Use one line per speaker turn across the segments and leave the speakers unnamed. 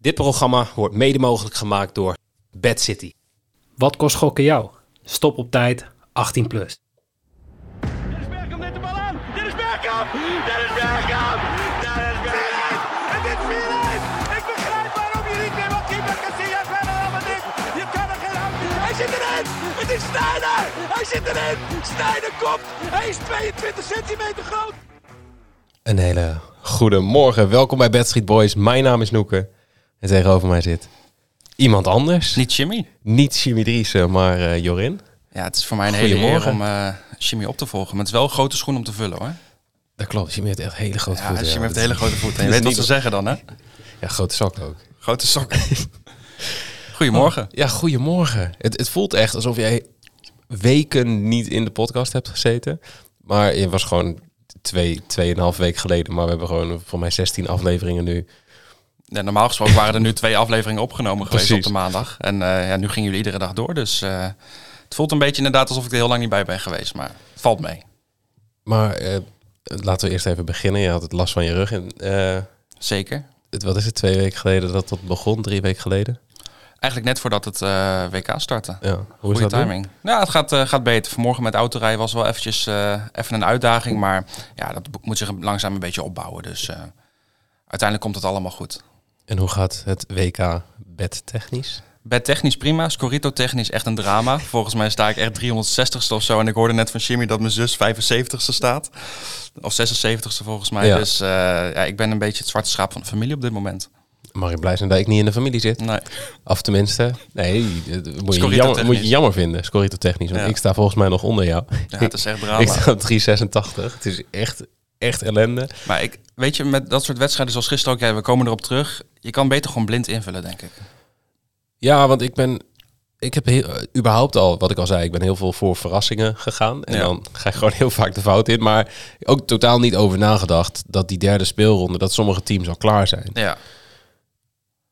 Dit programma wordt mede mogelijk gemaakt door Bad City.
Wat kost gokken jou? Stop op tijd, 18 plus.
Dennis Bergkamp neemt de bal aan. Dennis Bergkamp! Dennis Bergkamp! Dennis Bergkamp! Het is 4-1! Ik begrijp waarom je niet meer wat keeper Casillas verder allemaal dit. Je kan er geen hand Hij zit erin! Het is Sneijder! Hij zit erin! Sneijder komt! Hij is 22 centimeter groot!
Een hele goede morgen. Welkom bij Bad Street Boys. Mijn naam is Noeke. En tegenover mij zit iemand anders.
Niet Jimmy.
Niet Jimmy Driessen, maar eh, Jorin.
Ja, het is voor mij een hele eer
Goedemorgen.
om eh, Jimmy op te volgen. Maar het is wel een grote schoen om te vullen hoor.
Dat klopt. Jimmy heeft echt hele grote
Ja,
voeten.
Jimmy heeft
dat-
hele grote voeten. Je
dat
weet wat
is
ze
niet-
zeggen dan hè?
Ja, grote zak ook.
Grote sokken. Goedemorgen.
Ja, goedemorgen. Het, het voelt echt alsof jij weken niet in de podcast hebt gezeten. Maar je was gewoon twee, tweeënhalf week geleden. Maar we hebben gewoon voor mij 16 afleveringen nu.
Ja, normaal gesproken waren er nu twee afleveringen opgenomen geweest
Precies.
op de maandag. En eh, ja, nu gingen jullie iedere dag door. Dus eh, het voelt een beetje inderdaad alsof ik er heel lang niet bij ben geweest. Maar het valt mee.
Maar eh, laten we eerst even beginnen. Je had het last van je rug. En, eh,
Zeker.
het, wat is het, twee weken geleden dat dat begon? Drie weken geleden?
Eigenlijk net voordat het eh, WK startte.
Ja, hoe is
Goede
dat nu?
timing. Ja, het gaat, eh, gaat beter. Vanmorgen met autorijden was wel eventjes eh, even een uitdaging. Maar ja, dat bo- moet zich langzaam een beetje opbouwen. Dus eh, uiteindelijk komt het allemaal goed.
En hoe gaat het WK bedtechnisch?
Bed technisch prima, Scorito technisch echt een drama. Volgens mij sta ik echt 360ste of zo. En ik hoorde net van Jimmy dat mijn zus 75ste staat. Of 76ste volgens mij.
Ja.
Dus eh, ja, ik ben een beetje het zwarte schaap van de familie op dit moment.
Marie blij zijn dat ik niet in de familie zit.
Nee.
Of tenminste, nee, dat moet je, jammer,
Scorito-technisch.
moet je jammer vinden, scorito technisch. Want
Ja. Ah,
ik sta volgens mij nog onder jou.
Ja, het is echt drama.
Ik sta op 386. Het is echt, echt ellende.
Maar ik, weet je, met dat soort wedstrijden zoals gisteren ook, ja, we komen erop terug. Je kan beter gewoon blind invullen, denk ik.
Ja, want ik ben... Ik heb heel, eh, überhaupt al, wat ik al zei, ik ben heel veel voor verrassingen gegaan. En
Ja.
dan ga ik gewoon heel vaak de fout in. Maar ook totaal niet over nagedacht dat die derde speelronde, dat sommige teams al klaar zijn.
Ja,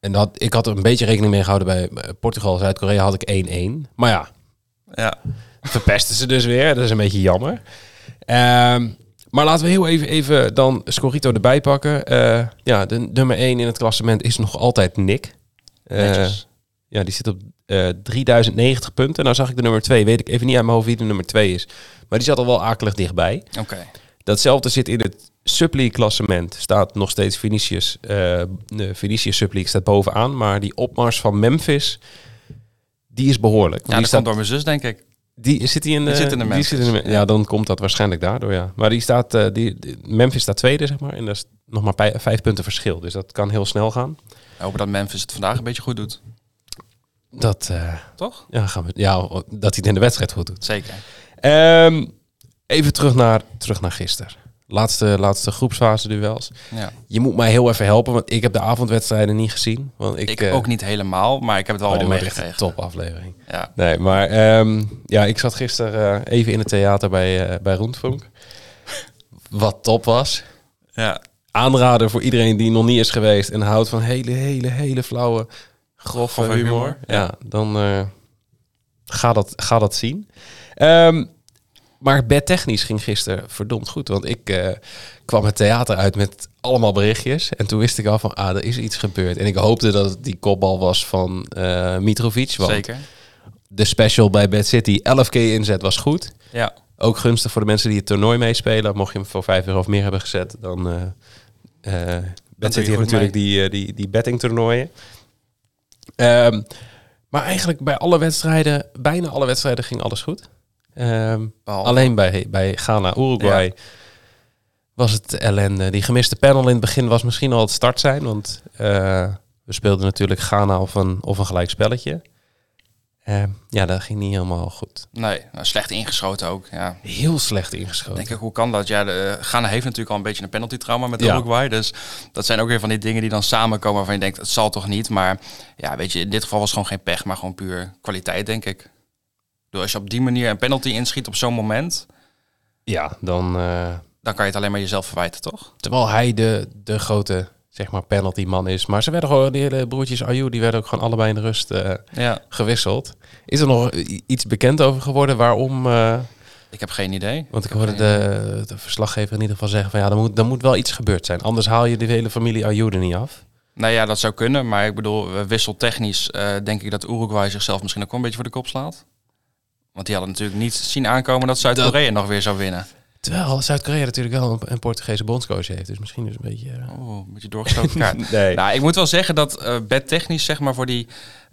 En dat, ik had er een beetje rekening mee gehouden bij eh, Portugal, Zuid-Korea had ik 1-1. Maar ja,
ja.
verpesten ze dus weer. Dat is een beetje jammer. Ehm, maar laten we heel even, even dan Scorito erbij pakken. Eh, ja, de nummer 1 in het klassement is nog altijd Nick. Eh,
Netjes.
ja, die zit op eh 3090 punten. Nou zag ik de nummer 2. Weet ik even niet uit mijn hoofd wie de nummer 2 is. Maar die zat al wel akelig dichtbij.
Oké.
Datzelfde zit in het subleague klassement. Staat nog steeds Vinicius. eh de Vinicius subleague staat bovenaan. Maar die opmars van Memphis, die is behoorlijk.
Ja,
die
dat
staat
komt door mijn zus, denk ik.
die zit hij in,
Die
eh,
zit in de Memphis.
Die zit in de, Mem- ja, dan komt dat waarschijnlijk daardoor, ja. Maar die staat, eh, die, die- Memphis staat tweede, zeg maar. En dat is nog maar pij- vijf punten verschil. Dus dat kan heel snel gaan.
We hopen dat Memphis het vandaag een beetje goed doet.
Dat, eh,
Toch?
ja, gaan we, ja, dat hij het in de wedstrijd goed doet.
Zeker.
Ehm, even terug naar, terug naar gisteren. Laatste, laatste groepsfase duels.
Ja.
Je moet mij heel even helpen, want ik heb de avondwedstrijden niet gezien. Want ik,
Ik,
eh,
ook niet helemaal, maar ik heb het wel
oh,
al
dit wordt echt een
meegekregen.
top aflevering.
Ja.
Nee, maar ehm, ja, ik zat gisteren eh, even in het theater bij, eh bij Rondvonk. Wat top was.
ja.
Aanrader voor iedereen die nog niet is geweest en houdt van hele, hele, hele flauwe, grove
Grove
humor.
humor,
Ja, dan eh, ga, dat, ga dat zien. Ehm, maar bedtechnisch ging gisteren verdomd goed. Want ik eh, kwam het theater uit met allemaal berichtjes. En toen wist ik al van, ah, er is iets gebeurd. En ik hoopte dat het die kopbal was van eh, Mitrovic. Want
Zeker.
de special bij Bad City 11 keer inzet was goed.
Ja.
Ook gunstig voor de mensen die het toernooi meespelen. Mocht je hem voor 5 euro of meer hebben gezet, dan. eh, eh, Bad
doe
City
je
heeft
goed
natuurlijk die, eh, die, die bettingtoernooien. Ehm, maar eigenlijk bij alle wedstrijden, bijna alle wedstrijden, ging alles goed. Ehm,
Behalve-
alleen bij, bij Ghana, Uruguay. Was het ellende. Die gemiste panel in het begin was misschien al het start zijn. Want eh, we speelden natuurlijk Ghana of een, of een gelijk spelletje. Ehm, ja, dat ging niet helemaal goed.
Nee, nou, slecht ingeschoten ook. Ja.
Heel slecht ingeschoten.
Denk ik, hoe kan dat? Ja, de, eh, Ghana heeft natuurlijk al een beetje een penalty-trauma met
Ja.
Uruguay. Dus dat zijn ook weer van die dingen die dan samenkomen waarvan je denkt, het zal toch niet? Maar ja, weet je, in dit geval was het gewoon geen pech, maar gewoon puur kwaliteit, denk ik. Dus als je op die manier een penalty inschiet op zo'n moment,
Ja, dan. eh,
dan kan je het alleen maar jezelf verwijten, toch?
terwijl hij de, de grote zeg maar, penaltyman is. Maar ze werden gewoon, die hele broertjes Ayu, die werden ook gewoon allebei in de rust eh,
Ja.
gewisseld. Is er nog i- iets bekend over geworden waarom? eh,
Ik heb geen idee.
want ik hoorde de, de verslaggever in ieder geval zeggen van ja, er moet, er moet wel iets gebeurd zijn. Anders haal je de hele familie Ayu er niet af.
Nou ja, dat zou kunnen. Maar ik bedoel, eh, wisseltechnisch eh, denk ik dat Uruguay zichzelf misschien ook wel een beetje voor de kop slaat. Want die hadden natuurlijk niet zien aankomen dat Zuid-Korea nog weer zou winnen.
Terwijl Zuid-Korea natuurlijk wel een, een Portugese bondscoach heeft. Dus misschien is het een beetje... eh,
Oeh, een beetje doorgestoken kaart.
Nee.
Nou, ik moet wel zeggen dat eh bedtechnisch, zeg maar, voor die,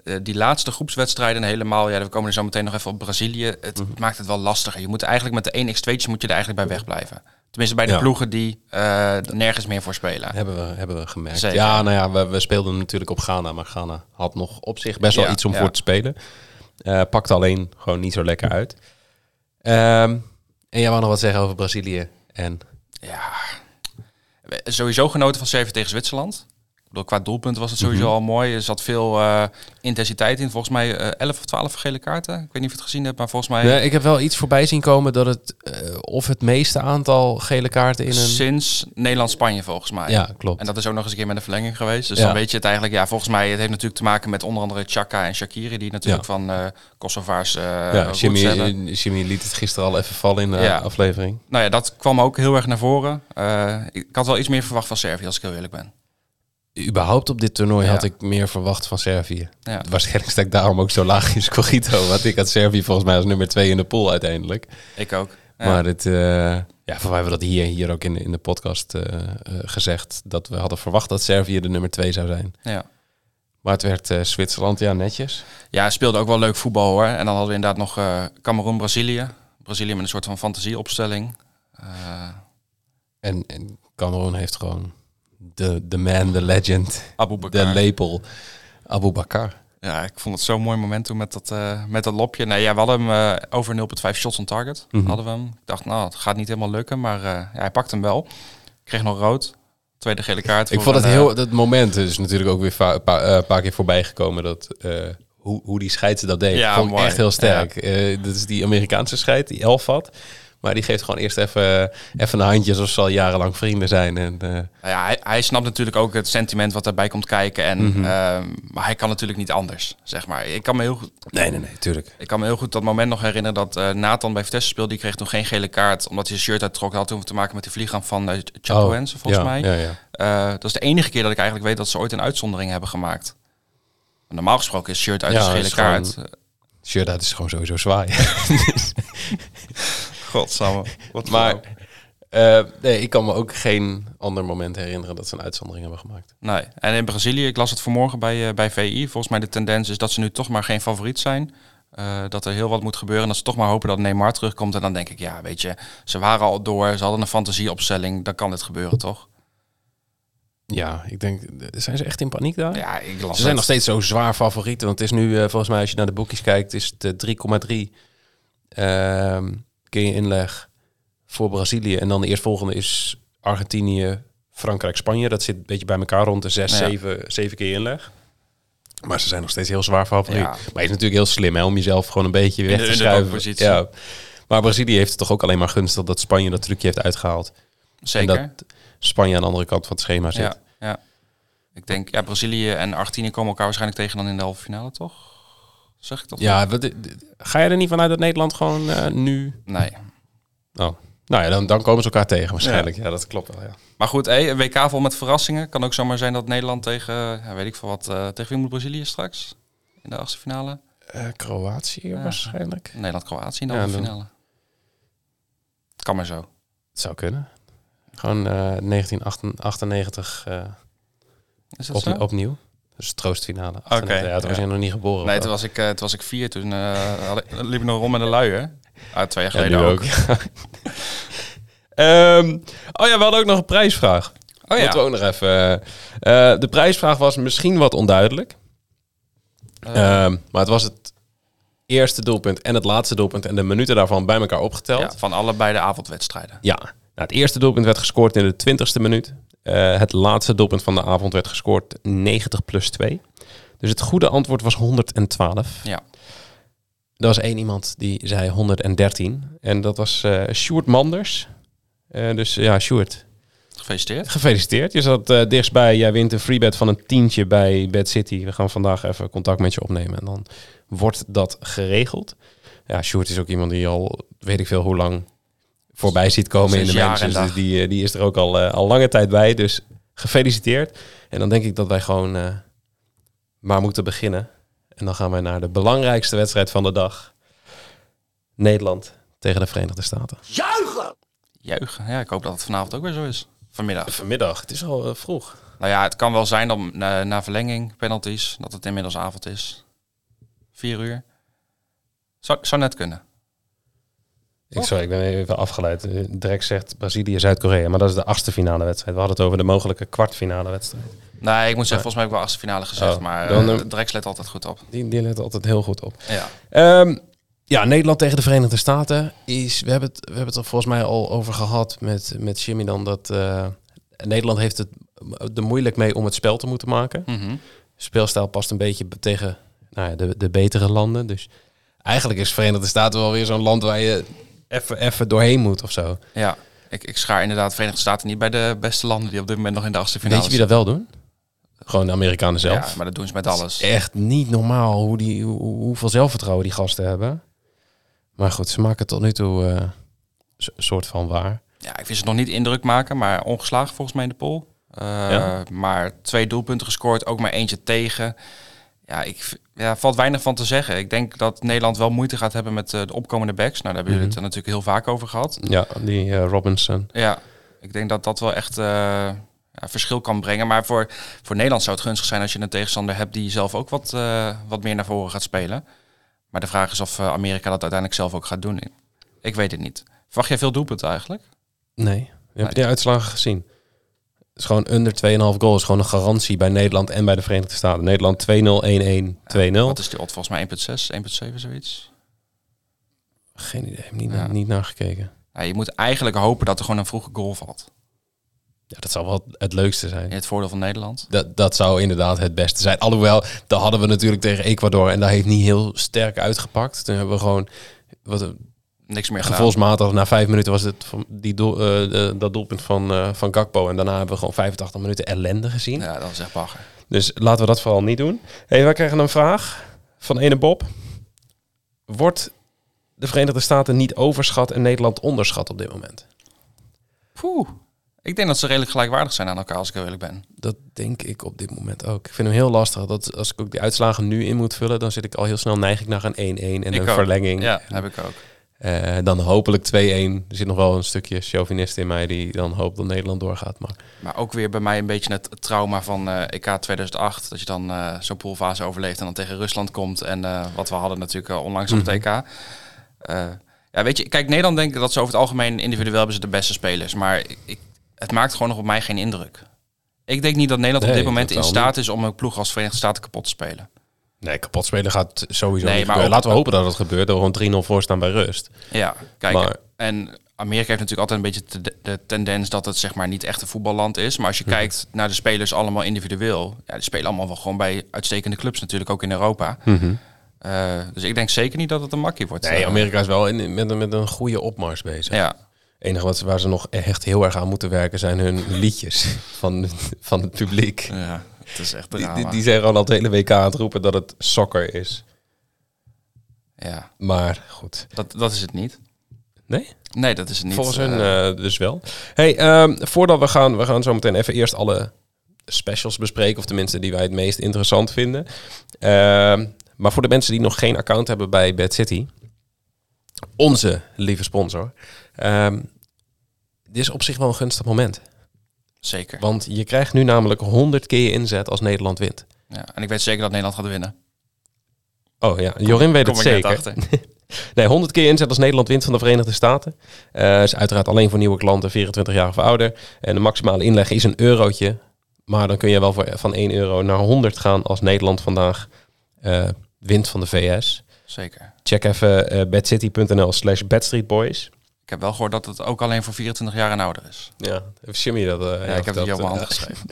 eh, die laatste groepswedstrijden en helemaal, ja, we komen er zo meteen nog even op Brazilië, het
Mhm.
maakt het wel lastiger. Je moet eigenlijk met de 1x2'tjes moet je er eigenlijk bij wegblijven. Tenminste bij de
Ja.
ploegen die eh, er nergens meer voor spelen.
Hebben we, hebben we gemerkt.
Zeker.
Ja, nou ja, we, we speelden natuurlijk op Ghana. Maar Ghana had nog op zich best wel
Ja,
iets om
ja.
voor te spelen. Eh pakte alleen gewoon niet zo lekker uit. Ehm, en jij wou nog wat zeggen over Brazilië. En
Ja. We- Sowieso genoten van Servië tegen Zwitserland. Ik bedoel, qua doelpunt was het sowieso
Mhm.
al mooi. Er zat veel eh, intensiteit in. Volgens mij eh 11 of 12 gele kaarten. Ik weet niet of je het gezien hebt, maar volgens mij
Nee, ik heb wel iets voorbij zien komen dat het... eh, of het meeste aantal gele kaarten in een...
sinds Nederland-Spanje volgens mij.
Ja, klopt.
En dat is ook nog eens een keer met een verlenging geweest. Dus
Ja.
dan weet je het eigenlijk. Ja, volgens mij, het heeft natuurlijk te maken met onder andere Chaka en Shakiri, die natuurlijk
Ja.
van eh Kosovaars eh
ja,
roots
Jimmy,
hebben.
Jimmy liet het gisteren al even vallen in de
Ja.
aflevering.
Nou ja, dat kwam ook heel erg naar voren. Eh, ik had wel iets meer verwacht van Servië, als ik heel eerlijk ben.
Überhaupt op dit toernooi
Ja.
had ik meer verwacht van Servië.
Ja.
Waarschijnlijk sta ik daarom ook zo laag in Scorito. Want ik had Servië volgens mij als nummer twee in de pool uiteindelijk.
Ik ook. Ja.
Maar dit, eh, ja, voor mij hebben we dat hier, hier ook in, de- in de podcast eh, eh, gezegd. Dat we hadden verwacht dat Servië de nummer twee zou zijn.
ja.
Maar het werd eh, Zwitserland, ja, netjes.
Ja, speelde ook wel leuk voetbal hoor. En dan hadden we inderdaad nog eh Cameroen, Brazilië. Brazilië met een soort van fantasieopstelling. Eh
En, en Cameroen heeft gewoon de, de man, de legend,
Abu
de
Bakar.
lepel. Abu Bakar.
Ja, ik vond het zo'n mooi moment toen met dat, eh, met dat lopje. Nee, ja, we hadden hem eh, over 0,5 shots on target.
Mhm.
Hadden we hem. Ik dacht, nou, het gaat niet helemaal lukken. Maar eh, ja, hij pakt hem wel. Kreeg nog rood. Tweede gele kaart.
Ik
voor
vond het
een, eh,
heel, dat moment is natuurlijk ook weer va- een paar, eh, een paar keer voorbij gekomen dat eh, hoe, hoe die scheidsen dat deed.
Ja,
vond ik
mooi.
echt heel sterk. Eh, dat is die Amerikaanse scheid, die elf had. Maar die geeft gewoon eerst even, even een handje, zoals ze al jarenlang vrienden zijn. En, eh,
Nou ja, hij, hij snapt natuurlijk ook het sentiment wat daarbij komt kijken. En,
Mhm.
ehm, maar hij kan natuurlijk niet anders, zeg maar. Ik kan me heel goed,
nee, nee, nee, tuurlijk.
Ik kan me heel goed dat moment nog herinneren dat eh, Nathan bij Vitesse speelde. Die kreeg toen geen gele kaart, omdat hij zijn shirt uittrok. Dat had toen te maken met die vliegramp van uh, Chapoense, volgens
Oh, ja,
mij.
Ja, ja.
Eh, dat is de enige keer dat ik eigenlijk weet dat ze ooit een uitzondering hebben gemaakt. Normaal gesproken is shirt uit
Ja,
een
dat
gele
is gewoon-
kaart.
Sure, dat is gewoon sowieso zwaai.
Godsamme. Wat
maar eh, nee, ik kan me ook geen ander moment herinneren dat ze een uitzondering hebben gemaakt.
Nee. En in Brazilië, ik las het vanmorgen bij, eh, bij VI. Volgens mij de tendens is dat ze nu toch maar geen favoriet zijn. Eh, dat er heel wat moet gebeuren. En dat ze toch maar hopen dat Neymar terugkomt. En dan denk ik, ja, weet je, ze waren al door. Ze hadden een fantasieopstelling. Dan kan dit gebeuren, toch?
Ja, ik denk, zijn ze echt in paniek daar?
Ja, ik las
Ze zijn
het.
nog steeds zo zwaar favorieten. Want het is nu, eh, volgens mij, als je naar de boekjes kijkt, is het eh, 3,3. Ehm kun je inleg voor Brazilië. En dan de eerstvolgende is Argentinië, Frankrijk, Spanje. Dat zit een beetje bij elkaar rond de 6,
Ja.
7, 7 keer inleg. Maar ze zijn nog steeds heel zwaar favoriet.
Ja.
Maar het is natuurlijk heel slim hè, om jezelf gewoon een beetje weg
de
te schuiven.
underdog-positie.
Ja. Maar Brazilië heeft het toch ook alleen maar gunstig dat Spanje dat trucje heeft uitgehaald.
Zeker.
En dat Spanje aan de andere kant van het schema zit.
ja, ja. Ik denk, ja, Brazilië en Argentinië komen elkaar waarschijnlijk tegen dan in de halve finale, toch? Zeg ik dat?
Ja, wat- ga je er niet vanuit dat Nederland gewoon eh, nu
Nee.
Oh. Nou ja, dan, dan komen ze elkaar tegen waarschijnlijk. Ja, dat klopt wel, ja.
Maar goed, hey, een WK vol met verrassingen. Kan ook zomaar zijn dat Nederland tegen, ja, weet ik veel wat, eh, tegen wie moet Brazilië straks? In de achtste finale?
Eh, Kroatië waarschijnlijk.
Nederland-Kroatië in de
Ja,
halve
dan-
finale. Kan maar zo.
Het zou kunnen. Gewoon eh 1998 eh,
Is dat
op,
zo?
opnieuw. Dus troostfinale. Oké. Ja, toen was
ja.
jij nog niet geboren.
nee, toen was, ik, eh, toen was ik vier. Toen eh, had ik- liep ik nog rond met een lui, hè? Ah, twee jaar
Ja,
geleden
nu
ook.
nou ook. Ehm, oh ja, we hadden ook nog een prijsvraag.
Oh ja.
Moeten we ook nog even... eh, eh, de prijsvraag was misschien wat onduidelijk.
Oh.
Ehm, maar het was het eerste doelpunt en het laatste doelpunt... en de minuten daarvan bij elkaar opgeteld.
Ja, van allebei de avondwedstrijden.
Ja, nou, het eerste doelpunt werd gescoord in de 20ste minuut. Eh, het laatste doelpunt van de avond werd gescoord 90 plus 2. Dus het goede antwoord was 112.
Ja.
Er was één iemand die zei 113. En dat was eh Sjoerd Manders. Eh, dus ja, Sjoerd,
Gefeliciteerd.
gefeliciteerd. Je zat eh dichtstbij. Jij wint een freebet van een tientje bij Bad City. We gaan vandaag even contact met je opnemen. En dan wordt dat geregeld. Ja, Sjoerd is ook iemand die al weet ik veel hoe lang voorbij ziet komen in
Sinds
de
jaar
mensen.
en
Dus
dag.
die, eh, die is er ook al, eh, al lange tijd bij. Dus Gefeliciteerd. En dan denk ik dat wij gewoon eh, maar moeten beginnen. En dan gaan wij naar de belangrijkste wedstrijd van de dag. Nederland tegen de Verenigde Staten.
Juichen. Ja, ik hoop dat het vanavond ook weer zo is. Vanmiddag.
Vanmiddag, het is al eh, vroeg.
Nou ja, het kan wel zijn dat na, na verlenging, penalties, dat het inmiddels avond is. Vier uur. Zou, zou net kunnen.
Ik, sorry, ik ben even afgeleid. Eh, Drek zegt Brazilië, Zuid-Korea. Maar dat is de achtste finale wedstrijd. We hadden het over de mogelijke kwartfinale wedstrijd.
Nee, Nou, ik moet zeggen, volgens mij heb ik wel achtste finale gezegd.
Oh,
maar
dan,
eh,
eh,
Drex let altijd goed op.
Die, die let altijd heel goed op.
Ja.
Ehm, ja, Nederland tegen de Verenigde Staten is. We hebben het, we hebben het er volgens mij al over gehad met, met Jimmy dan. Dat eh, Nederland heeft het er moeilijk mee om het spel te moeten maken.
Mhm.
Speelstijl past een beetje b- tegen nou ja, de, de betere landen. Dus eigenlijk is Verenigde Staten wel weer zo'n land waar je even- even doorheen moet of zo.
ja. Ik, ik schaar inderdaad de Verenigde Staten niet bij de beste landen die op dit moment nog in de achtste finale
Weet je wie dat wel doen? Gewoon de Amerikanen zelf.
Ja, maar dat doen ze met
Het
alles.
is echt niet normaal hoe die, hoe, hoeveel zelfvertrouwen die gasten hebben. Maar goed, ze maken het tot nu toe eh, so- soort van waar.
Ja, ik vind ze nog niet indruk maken, maar ongeslagen volgens mij in de pool. Eh,
Ja.
Maar twee doelpunten gescoord, ook maar eentje tegen. Ja, ik, v- ja, valt weinig van te zeggen. Ik denk dat Nederland wel moeite gaat hebben met eh, de opkomende backs. Nou, daar hebben jullie het er natuurlijk heel vaak over gehad.
Ja, die eh, Robinson.
Ja, ik denk dat dat wel echt eh, ja, verschil kan brengen. Maar voor, voor Nederland zou het gunstig zijn als je een tegenstander hebt die zelf ook wat, eh, wat meer naar voren gaat spelen. Maar de vraag is of eh, Amerika dat uiteindelijk zelf ook gaat doen. Ik- Ik weet het niet. Verwacht jij veel doelpunten eigenlijk?
Nee. Heb je die uitslagen gezien? Het is gewoon onder 2,5 goal. is gewoon een garantie bij Nederland en bij de Verenigde Staten. Nederland 2-0, 1-1, 2-0.
Wat is die odd? Volgens mij 1.6, 1.7 zoiets.
Geen idee, heb ik niet,
Ja.
niet naar gekeken.
Nou, je moet eigenlijk hopen dat er gewoon een vroege goal valt.
Ja, dat zou wel het leukste zijn.
In het voordeel van Nederland.
Dat, dat zou inderdaad het beste zijn. Alhoewel, dat hadden we natuurlijk tegen Ecuador. En dat heeft niet heel sterk uitgepakt. Toen hebben we gewoon... Wat,
Niks meer gedaan.
gevoelsmatig na vijf minuten was het van die doel, eh, de- dat doelpunt van, eh, van Gakpo. En daarna hebben we gewoon 85 minuten ellende gezien.
Ja, dat is echt bagger.
Dus laten we dat vooral niet doen. hey, wij krijgen een vraag van ene Bob. Wordt de Verenigde Staten niet overschat en Nederland onderschat op dit moment?
Poeh. Ik denk dat ze redelijk gelijkwaardig zijn aan elkaar, als ik heel eerlijk ben.
Dat denk ik op dit moment ook. Ik vind hem heel lastig. Dat als ik ook die uitslagen nu in moet vullen, dan zit ik al heel snel neig ik naar een 1-1 en
Ik
een
ook.
verlenging.
Ja, heb ik ook.
Eh, dan hopelijk 2-1. Er zit nog wel een stukje chauvinist in mij die dan hoopt dat Nederland doorgaat. Maar
Maar ook weer bij mij een beetje het trauma van eh, EK 2008. Dat je dan eh, zo'n poolfase overleeft en dan tegen Rusland komt. En eh, wat we hadden natuurlijk al onlangs op het
Mhm.
EK. Eh, ja, weet je, kijk, Nederland denk ik dat ze over het algemeen individueel hebben ze de beste spelers. Maar ik- ik, het maakt gewoon nog op mij geen indruk. Ik denk niet dat Nederland op
Nee,
dit moment in
totaal
staat is om een ploeg als Verenigde Staten kapot te spelen.
Nee, kapot spelen gaat sowieso
Nee,
niet
maar
gebeuren.
ook-
Laten we hopen dat het gebeurt door gewoon 3-0 voor staan bij rust.
Ja, kijk.
Maar-
En Amerika heeft natuurlijk altijd een beetje te- de tendens dat het zeg maar niet echt een voetballand is. Maar als
Mhm.
je kijkt naar de spelers allemaal individueel. Ja, die spelen allemaal wel gewoon bij uitstekende clubs natuurlijk, ook in Europa. Eh, dus ik denk zeker niet dat het een makkie wordt.
Mhm. Nee,
Eh,
Nou, Amerika is wel in, met, een- met een goede opmars bezig. Het
Ja,
enige wat, ze- waar ze nog echt heel erg aan moeten werken zijn hun liedjes van, van het publiek.
ja, het is echt
Die,
drama.
die, die zijn gewoon al het hele WK aan het roepen dat het soccer is.
Ja,
Maar goed.
dat, dat is het niet.
Nee?
Nee, dat is het niet.
Volgens
Eh,
hun eh, dus wel. Hey, ehm, voordat we gaan, we gaan zo meteen even eerst alle specials bespreken, of tenminste die wij het meest interessant vinden. Ehm, maar voor de mensen die nog geen account hebben bij Bad City, onze lieve sponsor, ehm, dit is op zich wel een gunstig moment.
zeker.
Want je krijgt nu namelijk 100 keer je inzet als Nederland wint.
Ja, en ik weet zeker dat Nederland gaat winnen.
Oh ja, Jorin weet
Kom
het
ik net
zeker.
achter.
Nee, 100 keer inzet als Nederland wint van de Verenigde Staten. Eh is uiteraard alleen voor nieuwe klanten, 24 jaar of ouder. En de maximale inleg is een eurotje. Maar dan kun je wel voor, van 1 euro naar 100 gaan als Nederland vandaag eh, wint van de VS.
Zeker.
Check even eh badcity.nl slash badstreetboys.
Ik heb wel gehoord dat het ook alleen voor 24 jaar en ouder is.
Ja, even Jimmy dat. eh,
Ja,
ja,
ik heb
verteld.
het hier op mijn hand geschreven.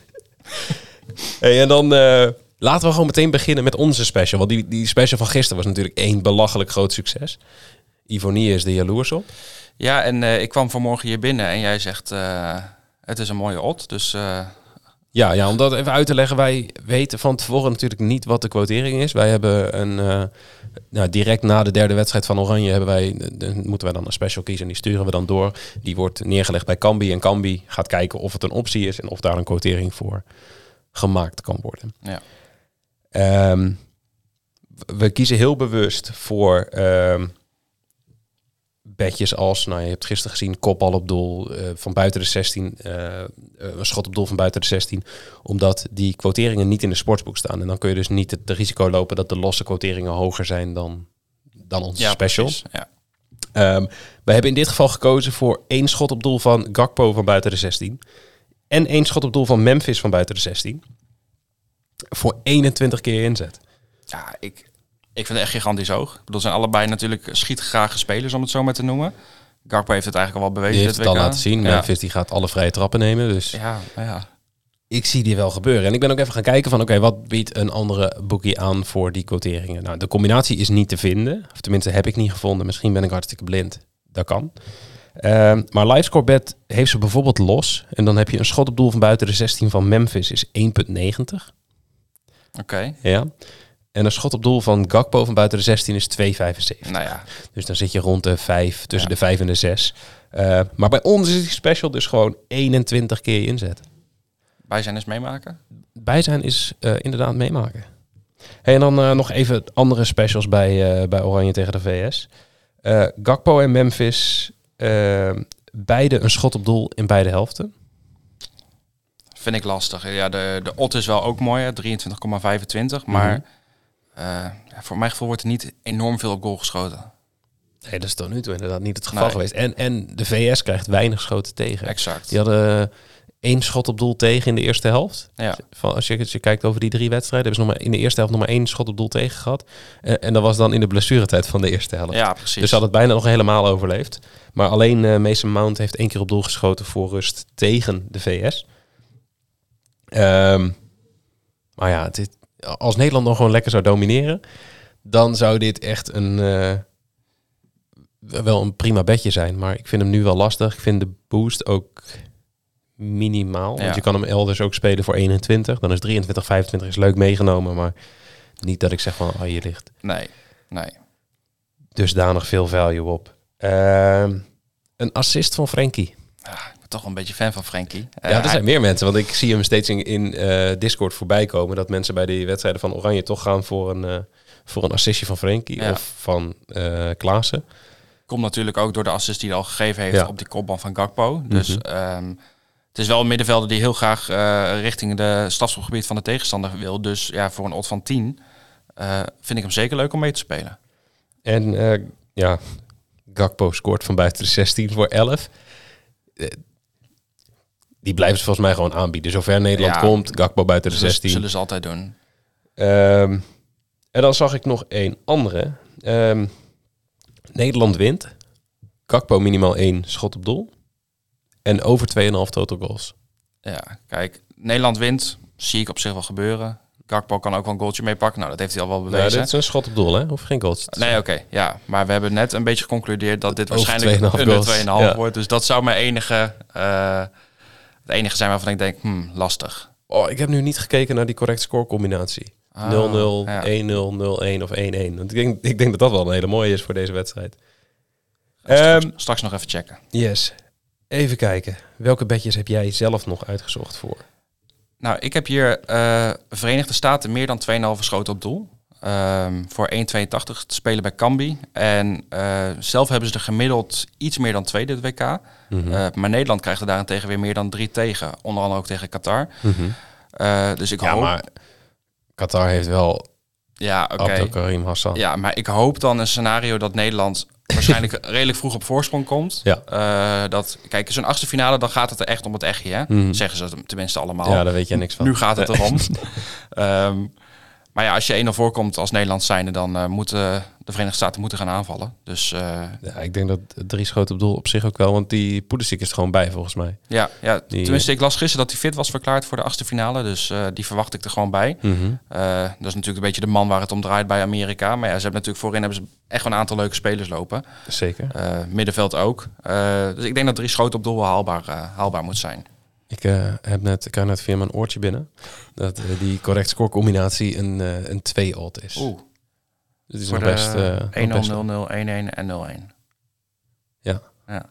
Hey, en dan eh, laten we gewoon meteen beginnen met onze special. Want die, die special van gisteren was natuurlijk één belachelijk groot succes. Ivonie is er jaloers op.
Ja, en eh, ik kwam vanmorgen hier binnen en jij zegt, eh, het is een mooie odd, dus eh,
Ja, ja, om dat even uit te leggen. Wij weten van tevoren natuurlijk niet wat de quotering is. Wij hebben een... eh, nou, direct na de derde wedstrijd van Oranje hebben wij, de- de- moeten wij dan een special kiezen. En die sturen we dan door. Die wordt neergelegd bij Kambi. En Kambi gaat kijken of het een optie is en of daar een quotering voor gemaakt kan worden.
Ja.
Ehm, we kiezen heel bewust voor ehm bedjes als, nou je hebt gisteren gezien, kopbal op doel eh, van buiten de 16, eh, eh, een schot op doel van buiten de 16, omdat die quoteringen niet in de sportsboek staan. En dan kun je dus niet het risico lopen dat de losse quoteringen hoger zijn dan, dan onze
Ja,
special.
precies. Ja.
Ehm, we hebben in dit geval gekozen voor één schot op doel van Gakpo van buiten de 16. En één schot op doel van Memphis van buiten de 16. Voor 21 keer inzet.
Ja, ik, ik vind het echt gigantisch hoog. Ik bedoel, ze zijn allebei natuurlijk schietgrage spelers, om het zo maar te noemen. Garpo heeft het eigenlijk al wel
Die
bewezen.
heeft
dit
het al
WK.
laten zien.
Ja,
Memphis die gaat alle vrije trappen nemen. Dus
ja, nou ja.
ik zie die wel gebeuren. En ik ben ook even gaan kijken van... oké, wat biedt een andere bookie aan voor die quoteringen? Nou, de combinatie is niet te vinden. Of tenminste, heb ik niet gevonden. Misschien ben ik hartstikke blind. Dat kan. Ehm, maar LiveScoreBet heeft ze bijvoorbeeld los. En dan heb je een schot op doel van buiten de 16 van Memphis is 1,90.
Oké,
Ja. En een schot op doel van Gakpo van buiten de 16 is 2,75.
nou ja.
Dus dan zit je rond de 5, tussen de 5 en de 6. Eh, maar bij ons is die special dus gewoon 21 keer je inzet.
Wij zijn eens meemaken.
Bij zijn is eh, inderdaad meemaken. Hey, en dan eh, nog even andere specials bij, eh, bij Oranje tegen de VS. Eh, Gakpo en Memphis, eh, beide een schot op doel in beide helften.
Vind ik lastig. Ja, de, de odd is wel ook mooi, hè, 23,25.
Mhm.
Maar eh, ja, voor mijn gevoel wordt er niet enorm veel op goal geschoten.
Nee, dat is tot nu toe inderdaad niet het geval
Nee.
geweest. En, en de VS krijgt weinig schoten tegen.
Exact.
Die hadden eh, één schot op doel tegen in de eerste helft.
Ja.
Van, als, je, als je kijkt over die drie wedstrijden, hebben ze nog maar in de eerste helft nog maar één schot op doel tegen gehad. Eh, en dat was dan in de blessuretijd van de eerste helft.
Ja, precies.
Dus ze hadden het bijna nog helemaal overleefd. Maar alleen eh, Mason Mount heeft één keer op doel geschoten voor rust tegen de VS. Ehm, maar ja, dit, als Nederland dan gewoon lekker zou domineren, dan zou dit echt een, eh, wel een prima bedje zijn. Maar ik vind hem nu wel lastig. Ik vind de boost ook minimaal.
Ja.
Want je kan hem elders ook spelen voor 21. Dan is 23, 25 is leuk meegenomen. Maar niet dat ik zeg van, oh, je ligt
Nee, nee.
dusdanig veel value op. Ehm, een assist van Frenkie.
Ah, ik ben toch wel een beetje fan van Frenkie. Eh,
ja, er
hij-
zijn meer mensen, want ik zie hem steeds in, in eh, Discord voorbij komen. Dat mensen bij die wedstrijden van Oranje toch gaan voor een, eh, voor een assistje van Frenkie
Ja.
of van eh Klaassen.
Komt natuurlijk ook door de assist die hij al gegeven heeft
Ja. Mhm.
op die kopbal van Gakpo. Dus ehm, het is wel een middenvelder die heel graag eh, richting de strafschopgebied van de tegenstander wil. Dus ja, voor een odd van 10 eh, vind ik hem zeker leuk om mee te spelen.
En eh, ja, Gakpo scoort van buiten de 16 voor 11. Eh, die blijven ze volgens mij gewoon aanbieden. Zover Nederland
Ja.
komt, Gakpo buiten de
Dus
16.
dat zullen ze altijd doen.
Ehm, en dan zag ik nog één andere. Ehm, Nederland wint. Kakpo minimaal één schot op doel. En over 2,5 total goals.
Ja, kijk, Nederland wint. Zie ik op zich wel gebeuren. Gakpo kan ook wel een goaltje meepakken. Nou, dat heeft hij al wel
Nou,
bewezen.
dit is een schot op doel, hè? Of geen goals?
Nee, oké. ja, maar we hebben net een beetje geconcludeerd dat dit
Over
waarschijnlijk
2,5
onder
goals.
2,5
Ja.
wordt. Dus dat zou mijn enige, eh, het enige zijn waarvan ik denk, hmm, lastig. Ah,
Oh, ik heb nu niet gekeken naar die correcte scorecombinatie. 0-0, 1-0, 0-1 of 1-1. Want ik denk, ik denk dat dat wel een hele mooie is voor deze wedstrijd. Ehm,
straks, straks nog even checken.
yes. Even kijken. Welke bedjes heb jij zelf nog uitgezocht voor?
Nou, ik heb hier eh, Verenigde Staten meer dan 2,5 schoten op doel. Ehm, voor 1,82 te spelen bij Cambi. En eh, zelf hebben ze er gemiddeld iets meer dan 2 dit WK.
Hm. Mhm.
Eh, maar Nederland krijgt er daarentegen weer meer dan 3 tegen. Onder andere ook tegen Qatar.
Mhm.
Eh, dus ik hoop...
Qatar heeft wel
Ja, oké.
Abdelkarim Karim Hassan.
Ja, maar ik hoop dan een scenario dat Nederland waarschijnlijk redelijk vroeg op voorsprong komt.
Ja.
Eh, dat, kijk, zo'n achtste finale, dan gaat het er echt om het echtje, hè? Zeggen ze tenminste allemaal.
Mhm. Ja, daar weet jij niks van.
Nu gaat het erom. Ehm, maar ja, als je 1-0 voorkomt als Nederland zijnde, dan eh, moeten de Verenigde Staten moeten gaan aanvallen. Dus eh,
Ja, ik denk dat drie schoten op doel op zich ook wel, want die Poedersik is er gewoon bij volgens mij.
ja, ja
Die- eh,
tenminste, ik las gisteren dat hij fit was verklaard voor de achtste finale. Dus eh, die verwacht ik er gewoon bij.
Mhm.
Eh, dat is natuurlijk een beetje de man waar het om draait bij Amerika. Maar ja, ze hebben natuurlijk voorin hebben ze echt wel een aantal leuke spelers lopen.
Zeker.
Eh, middenveld ook. Eh, dus ik denk dat drie schoten op doel wel haalbaar, eh, haalbaar moet zijn.
Ik, eh, heb net, ik kan net via mijn oortje binnen dat eh, die correct scorecombinatie een, eh, een 2-alt is.
Oeh,
Dus het is
voor
nog
de
best, eh, nog
1-0, 0-0, 1-1
best-
en 0-1.
Ja.
ja.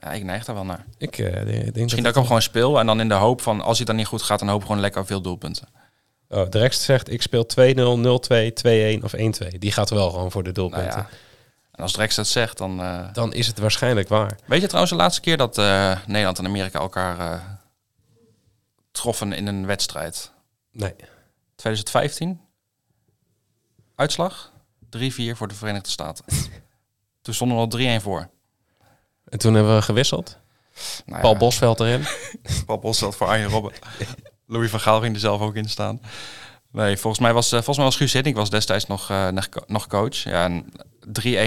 Ja, ik neig daar wel naar.
Ik eh, denk- denk
Misschien dat ik hem gewoon speel en dan in de hoop van als hij dan niet goed gaat, dan hoop ik gewoon lekker veel doelpunten.
Oh, de rechts zegt ik speel 2-0, 0-2, 2-1 of 1-2. Die gaat wel gewoon voor de
Nou
doelpunten.
ja. En als Drex dat zegt, dan. eh,
Dan is het waarschijnlijk waar.
Weet je trouwens de laatste keer dat eh, Nederland en Amerika elkaar eh, troffen in een wedstrijd?
Nee.
2015? Uitslag? 3-4 voor de Verenigde Staten. Toen stonden we al 3-1 voor.
En toen hebben we gewisseld.
Nou
Paul
ja,
Bosveld erin.
Paul Bos zat voor Arjen Robben. Louis van Gaal ging er zelf ook in staan. Nee, volgens mij was, eh, volgens mij was Guus Hiddink was destijds nog, eh, nog co- nog coach. Ja, en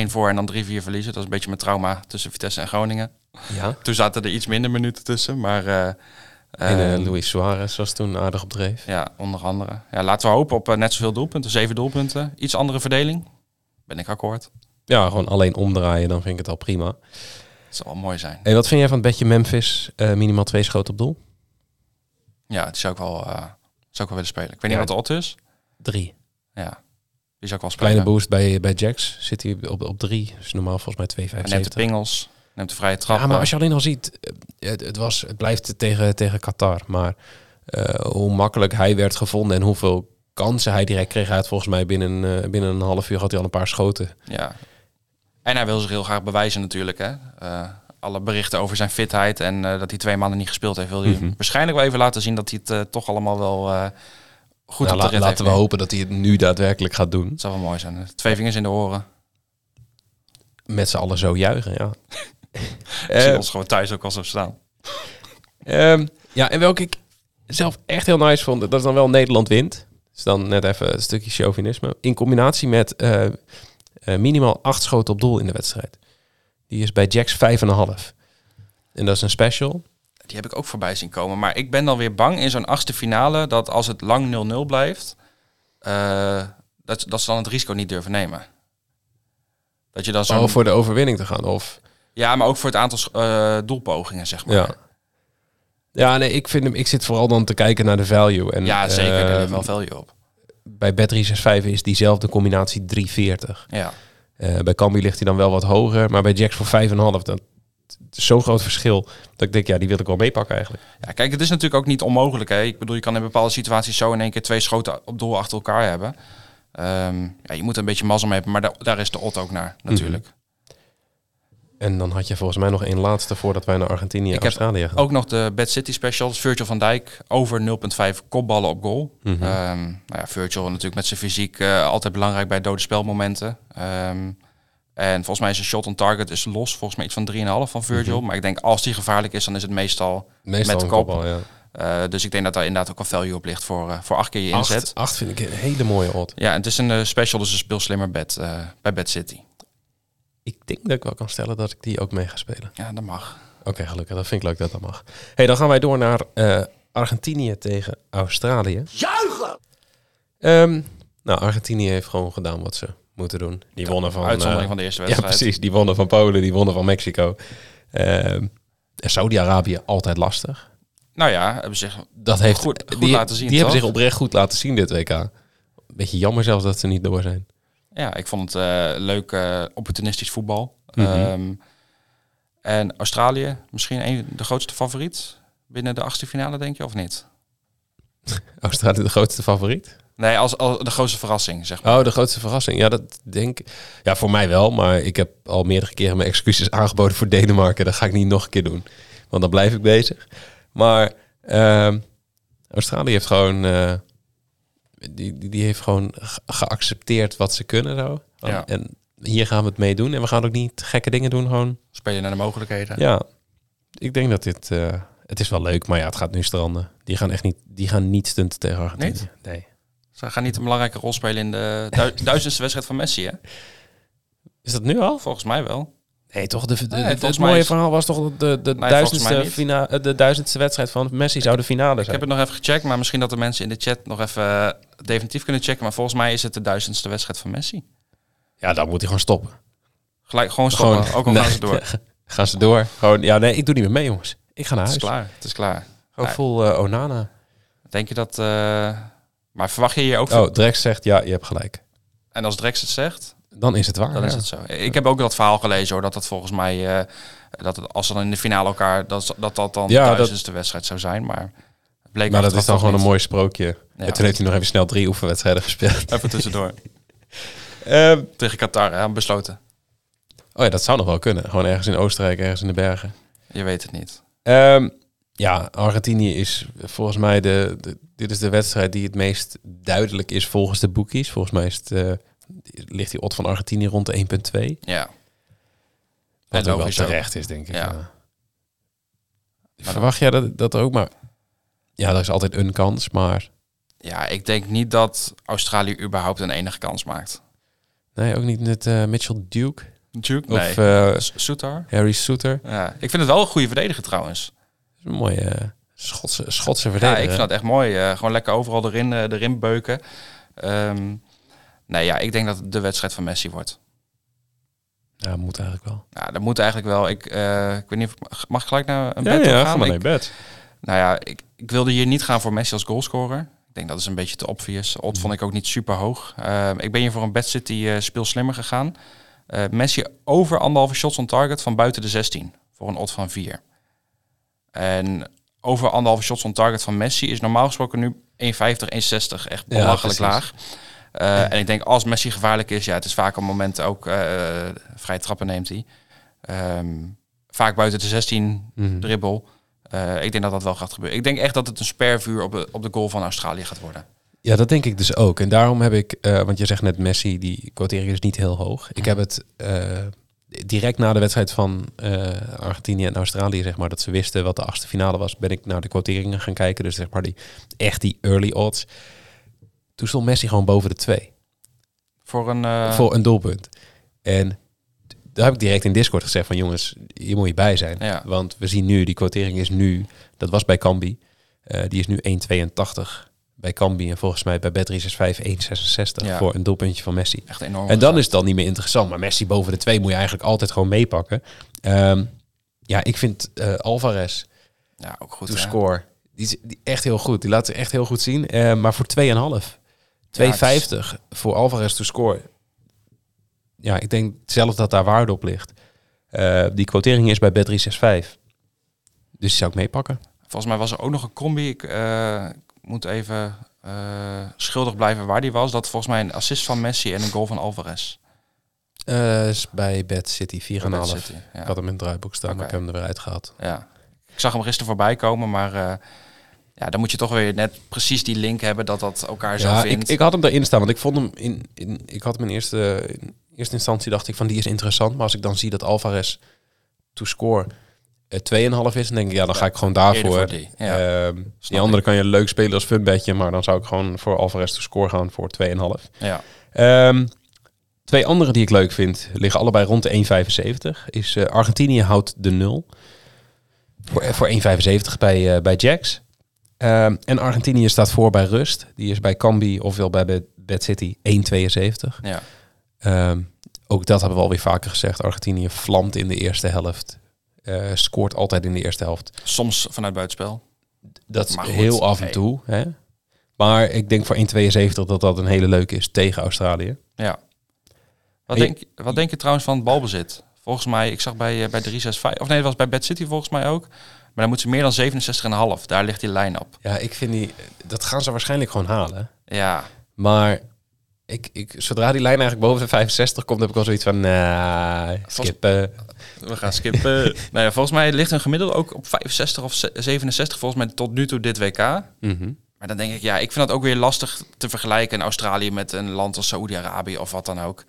3-1 voor en dan 3-4 verliezen. Dat is een beetje mijn trauma tussen Vitesse en Groningen.
Ja.
Toen zaten er iets minder minuten tussen, maar... eh,
En eh,
eh,
Luis Suarez was toen aardig op dreef.
Ja, onder andere. Ja, laten we hopen op eh, net zoveel doelpunten. Zeven doelpunten. Iets andere verdeling. Ben ik akkoord.
Ja, gewoon alleen omdraaien, dan vind ik het al prima.
Dat zou wel mooi zijn.
En wat vind jij van het bedje Memphis, eh, minimaal twee schoten op doel?
Ja, die zou ik wel, eh, zou ik wel willen spelen. Ik weet
Ja.
niet wat de odd is.
Drie.
Ja, die zou ik wel spelen.
Kleine boost bij, bij Jax zit hij op, op drie. Dus normaal volgens mij 2,75.
Hij neemt de pingels. Neemt de vrije trap.
Ja, maar als je alleen al ziet, eh, het, het, was, het blijft tegen, tegen Qatar. Maar eh, hoe makkelijk hij werd gevonden en hoeveel kansen hij direct kreeg. Hij had volgens mij binnen, eh, binnen een half uur had hij al een paar schoten.
Ja. En hij wil zich heel graag bewijzen natuurlijk. Hè? Eh, alle berichten over zijn fitheid en eh, dat hij twee maanden niet gespeeld heeft... wil hij
Mhm.
waarschijnlijk wel even laten zien dat hij het eh, toch allemaal wel eh,
Nou,
goed op de
la-
rit heeft.
laten we hopen dat hij het nu daadwerkelijk gaat doen.
Het zou wel mooi zijn. Twee vingers in de oren.
Met z'n allen zo juichen, ja.
Ik zie
Eh,
ons gewoon thuis ook al zo staan.
Ehm, ja, en welke ik zelf echt heel nice vond, dat is dan wel Nederland wint. Dus dan net even een stukje chauvinisme. In combinatie met eh, eh, minimaal acht schoten op doel in de wedstrijd. Die is bij Jacks 5,5. En dat is een special.
Die heb ik ook voorbij zien komen. Maar ik ben dan weer bang in zo'n achtste finale dat als het lang 0-0 blijft, eh, dat, dat ze dan het risico niet durven nemen. Dat je dan zo.
Zo voor de overwinning te gaan. Of,
Ja, maar ook voor het aantal sch- eh, doelpogingen, zeg maar.
ja. ja, nee, ik, vind hem, ik zit vooral dan te kijken naar de value. En,
Ja, zeker.
eh,
Daar ligt wel value op.
bij Bet365 is diezelfde combinatie 3,40.
Ja.
Eh, bij Cambi ligt hij dan wel wat hoger, maar bij Jacks voor 5,5. Dat het is zo'n groot verschil dat ik denk, ja, die wil ik wel meepakken eigenlijk.
ja. Kijk, het is natuurlijk ook niet onmogelijk. Hè? Ik bedoel, je kan in bepaalde situaties zo in één keer twee schoten op doel achter elkaar hebben. Ehm, ja, je moet er een beetje mazzel mee hebben, maar daar, daar is de odd ook
Mhm.
naar, natuurlijk.
En dan had je volgens mij nog één laatste voordat wij naar Argentinië en
Ik heb Oh,
Australië gaan.
Ook nog de Bad City Specials. Virgil van Dijk over 0,5 kopballen op goal.
Mhm.
Ehm, nou ja, Virgil natuurlijk met zijn fysiek eh, altijd belangrijk bij dode spelmomenten. Ehm, en volgens mij is een shot on target is los. Volgens mij iets van 3,5 van Virgil.
Mhm.
Maar ik denk als die gevaarlijk is, dan is het meestal,
Meestal
met
een
de kop.
kopbal, ja.
Eh, dus ik denk dat daar inderdaad ook wel value op ligt voor, eh, voor acht keer je inzet.
Acht, acht vind ik een hele mooie odd.
Ja, en het is een eh, special, dus een speel slimmer bed eh, bij Bad City.
Ik denk dat ik wel kan stellen dat ik die ook mee ga spelen.
Ja, dat mag.
Oké, gelukkig. Dat vind ik leuk dat dat mag. hey, dan gaan wij door naar eh, Argentinië tegen Australië. Juichen! nou, Argentinië heeft gewoon gedaan wat ze moeten doen. Die wonnen van...
Uitzondering
eh,
van de eerste
Ja,
wedstrijd.
precies. Die wonnen van Polen, die wonnen van Mexico. Ehm, en Saudi-Arabië altijd lastig.
Nou ja, hebben zich
Dat heeft
Goed- goed
die,
laten zien,
Die hebben
toch?
zich oprecht goed laten zien dit WK. Beetje jammer zelfs dat ze niet door zijn.
Ja, ik vond het eh, leuk eh, opportunistisch voetbal.
Mhm.
Ehm, en Australië, misschien een, de grootste favoriet binnen de achtste finale, denk je, of niet?
Australië de grootste favoriet.
Nee, als, als de grootste verrassing, zeg maar.
Oh, de grootste verrassing. Ja, dat denk Ja, voor mij wel. Maar ik heb al meerdere keren mijn excuses aangeboden voor Denemarken. Dat ga ik niet nog een keer doen. Want dan blijf ik bezig. Maar ehm, Australië heeft gewoon... eh, die, die, die heeft gewoon ge- geaccepteerd wat ze kunnen zo.
Ja.
En hier gaan we het mee doen. En we gaan ook niet gekke dingen doen. Gewoon,
Spelen naar de mogelijkheden.
ja. Ik denk dat dit... eh, het is wel leuk, maar ja, het gaat nu stranden. Die gaan echt niet... Die gaan niet stunten tegen Argentinië.
Niet?
Nee.
Ze gaan niet een belangrijke rol spelen in de du- duizendste wedstrijd van Messi, hè?
Is dat nu al?
Volgens mij wel.
Nee, toch? De, de,
Nee,
het
volgens mij
mooie
is-
verhaal was toch dat de, de,
mij
duizendste
niet.
fina, eh, de duizendste wedstrijd van Messi zou de finale
Ik
zijn.
heb het nog even gecheckt, maar misschien dat de mensen in de chat nog even eh, definitief kunnen checken. Maar volgens mij is het de duizendste wedstrijd van Messi.
Ja, dan moet hij gewoon stoppen.
Gelijk, gewoon stoppen, ook al gaan ze door.
Gaan ze door. Gewoon, ja, nee, ik doe niet meer mee, jongens. Ik ga naar
Het is
huis.
klaar. Het is klaar.
Gewoon
Ja.
vol eh, Onana.
Denk je dat... eh, maar verwacht je hier ook...
Oh, Drex zegt, ja, je hebt gelijk.
En als Drex het zegt,
Dan is het waar.
dan
ja.
is het zo. Ik heb ook dat verhaal gelezen hoor, dat dat volgens mij... eh, dat het, als ze dan in de finale elkaar... Dat dat, dat dan
Ja,
ja,
dat-
duizendste wedstrijd zou zijn, maar... het Bleek
Maar dat
achteraf
is dan
toch
gewoon een
niet.
mooi sprookje. En toen heeft hij nog even snel drie oefenwedstrijden gespeeld.
Even tussendoor. Eh,
Ehm,
Tegen Qatar, hè, besloten.
oh ja, dat zou nog wel kunnen. Gewoon ergens in Oostenrijk, ergens in de bergen.
Je weet het niet.
Ehm, ja, Argentinië is volgens mij de, de- Dit is de wedstrijd die het meest duidelijk is volgens de boekies. Volgens mij is het, eh, ligt die odd van Argentinië rond de 1,2. Wat
Ja. En
ook wel
logisch ook.
terecht is, denk ik.
Ja.
Ja. Verwacht jij dat, dat ook? Maar ja, er is altijd een kans. Maar
Ja, ik denk niet dat Australië überhaupt een enige kans maakt.
nee, ook niet met eh, Mitchell Duke
Duke?
of
Nee.
eh,
S- Soutar?
Harry Souter.
Ja. Ik vind het wel een goede verdediger trouwens.
Dat is een mooie eh, Schotse, Schotse
Ja,
verdediger.
ik vind dat echt mooi. eh, gewoon lekker overal erin, eh, erin beuken. Ehm, nee, ja, ik denk dat het de wedstrijd van Messi wordt.
Ja, moet eigenlijk wel.
Ja, Nou, dat moet eigenlijk wel. Ik, eh, ik weet niet of... Mag ik gelijk naar een
Ja,
bed
ja,
gaan?
ga maar
Ik-
naar je bed.
Nou ja, ik, ik wilde hier niet gaan voor Messi als goalscorer. Ik denk dat is een beetje te obvious. Odd
Mhm.
vond ik ook niet super hoog. Ehm, ik ben hier voor een Bad City eh, speel slimmer gegaan. Eh, Messi over anderhalve shots on target van buiten de 16. Voor een odd van 4. En over anderhalve shots on target van Messi is normaal gesproken nu 1,50, 1,60. Echt
Ja,
belachelijk
precies.
laag. Eh, En ik denk als Messi gevaarlijk is, ja, het is vaak een moment ook eh vrij trappen neemt hij. Ehm, vaak buiten de 16
Mhm.
dribbel. Eh, ik denk dat dat wel gaat gebeuren. Ik denk echt dat het een spervuur op de, op de goal van Australië gaat worden.
Ja, dat denk ik dus ook. En daarom heb ik, eh, want je zegt net Messi, die quotering is niet heel hoog. Ik heb het eh, direct na de wedstrijd van eh, Argentinië en Australië, zeg maar, dat ze wisten wat de achtste finale was, ben ik naar de quoteringen gaan kijken. Dus zeg maar die, echt die early odds. Toen stond Messi gewoon boven de twee
Voor een. eh,
voor een doelpunt. En daar heb ik direct in Discord gezegd van jongens, hier moet je bij zijn.
Ja.
Want we zien nu, die quotering is nu, dat was bij Cambi, eh, die is nu 1,82 bij Cambi en volgens mij bij Bet365 1,66
Ja.
voor een doelpuntje van Messi.
Echt enorm.
En dan
gezakt.
is het dan niet meer interessant. Maar Messi boven de twee moet je eigenlijk altijd gewoon meepakken. Ehm, ja, ik vind eh, Alvarez
Ja, ook goed.
to
hè?
score, die is die echt heel goed. Die laat ze echt heel goed zien. Eh, maar voor 2,5. 2,50 voor Alvarez to score. Ja, ik denk zelf dat daar waarde op ligt. Eh, die quotering is bij Bet365. Dus die zou ik meepakken.
Volgens mij was er ook nog een combi. Ik eh, ik moet even eh, schuldig blijven waar die was. Dat volgens mij een assist van Messi en een goal van Alvarez.
Eh, is bij Bet City 4,5.
Bij Man City, ja.
Ik had hem in het draaiboek staan, maar ik
Oké.
heb hem er weer uitgehaald.
Ja. Ik zag hem gisteren voorbij komen, maar eh, ja, dan moet je toch weer net precies die link hebben dat dat elkaar zo
Ja, ik,
vindt.
ik had hem erin staan, want ik vond hem in, in ik had hem in eerste, in eerste instantie dacht ik van die is interessant, maar als ik dan zie dat Alvarez to score eh, 2,5 is, dan denk ik ja, dan ga ik gewoon daarvoor.
voor die, ja.
Ehm, die andere kan je leuk spelen als funbedje, maar dan zou ik gewoon voor Alvarez to score gaan voor 2,5.
ja.
Ehm, twee andere die ik leuk vind liggen allebei rond de 1,75. Is eh, Argentinië houdt de 0 voor, eh, voor 1,75 bij, eh, bij Jacks. Ehm, en Argentinië staat voor bij Rust. Die is bij Cambi ofwel bij Bad, Bad City 1,72.
ja.
Ehm, ook dat hebben we alweer vaker gezegd. Argentinië vlamt in de eerste helft. Eh, scoort altijd in de eerste helft.
Soms vanuit buitenspel.
Dat is
Maar goed,
heel af en
hey.
toe. Hè? Maar ik denk voor 1,72 dat dat een hele leuke is tegen Australië.
Ja. Wat,
Hey.
denk, wat denk je trouwens van het balbezit? Volgens mij, ik zag bij, eh, bij 365, of nee, dat was bij Bad City volgens mij ook. Maar dan moet ze meer dan 67,5. Daar ligt die lijn op.
Ja, ik vind die... Dat gaan ze waarschijnlijk gewoon halen.
Ja,
Maar ik, ik, zodra die lijn eigenlijk boven de 65 komt, heb ik al zoiets van... nah, skippen.
we gaan skippen. nou ja, volgens mij ligt een gemiddelde ook op 65 of ze- 67, volgens mij tot nu toe dit WK.
Mhm.
Maar dan denk ik, ja, ik vind dat ook weer lastig te vergelijken in Australië met een land als Saoedi-Arabië of wat dan ook.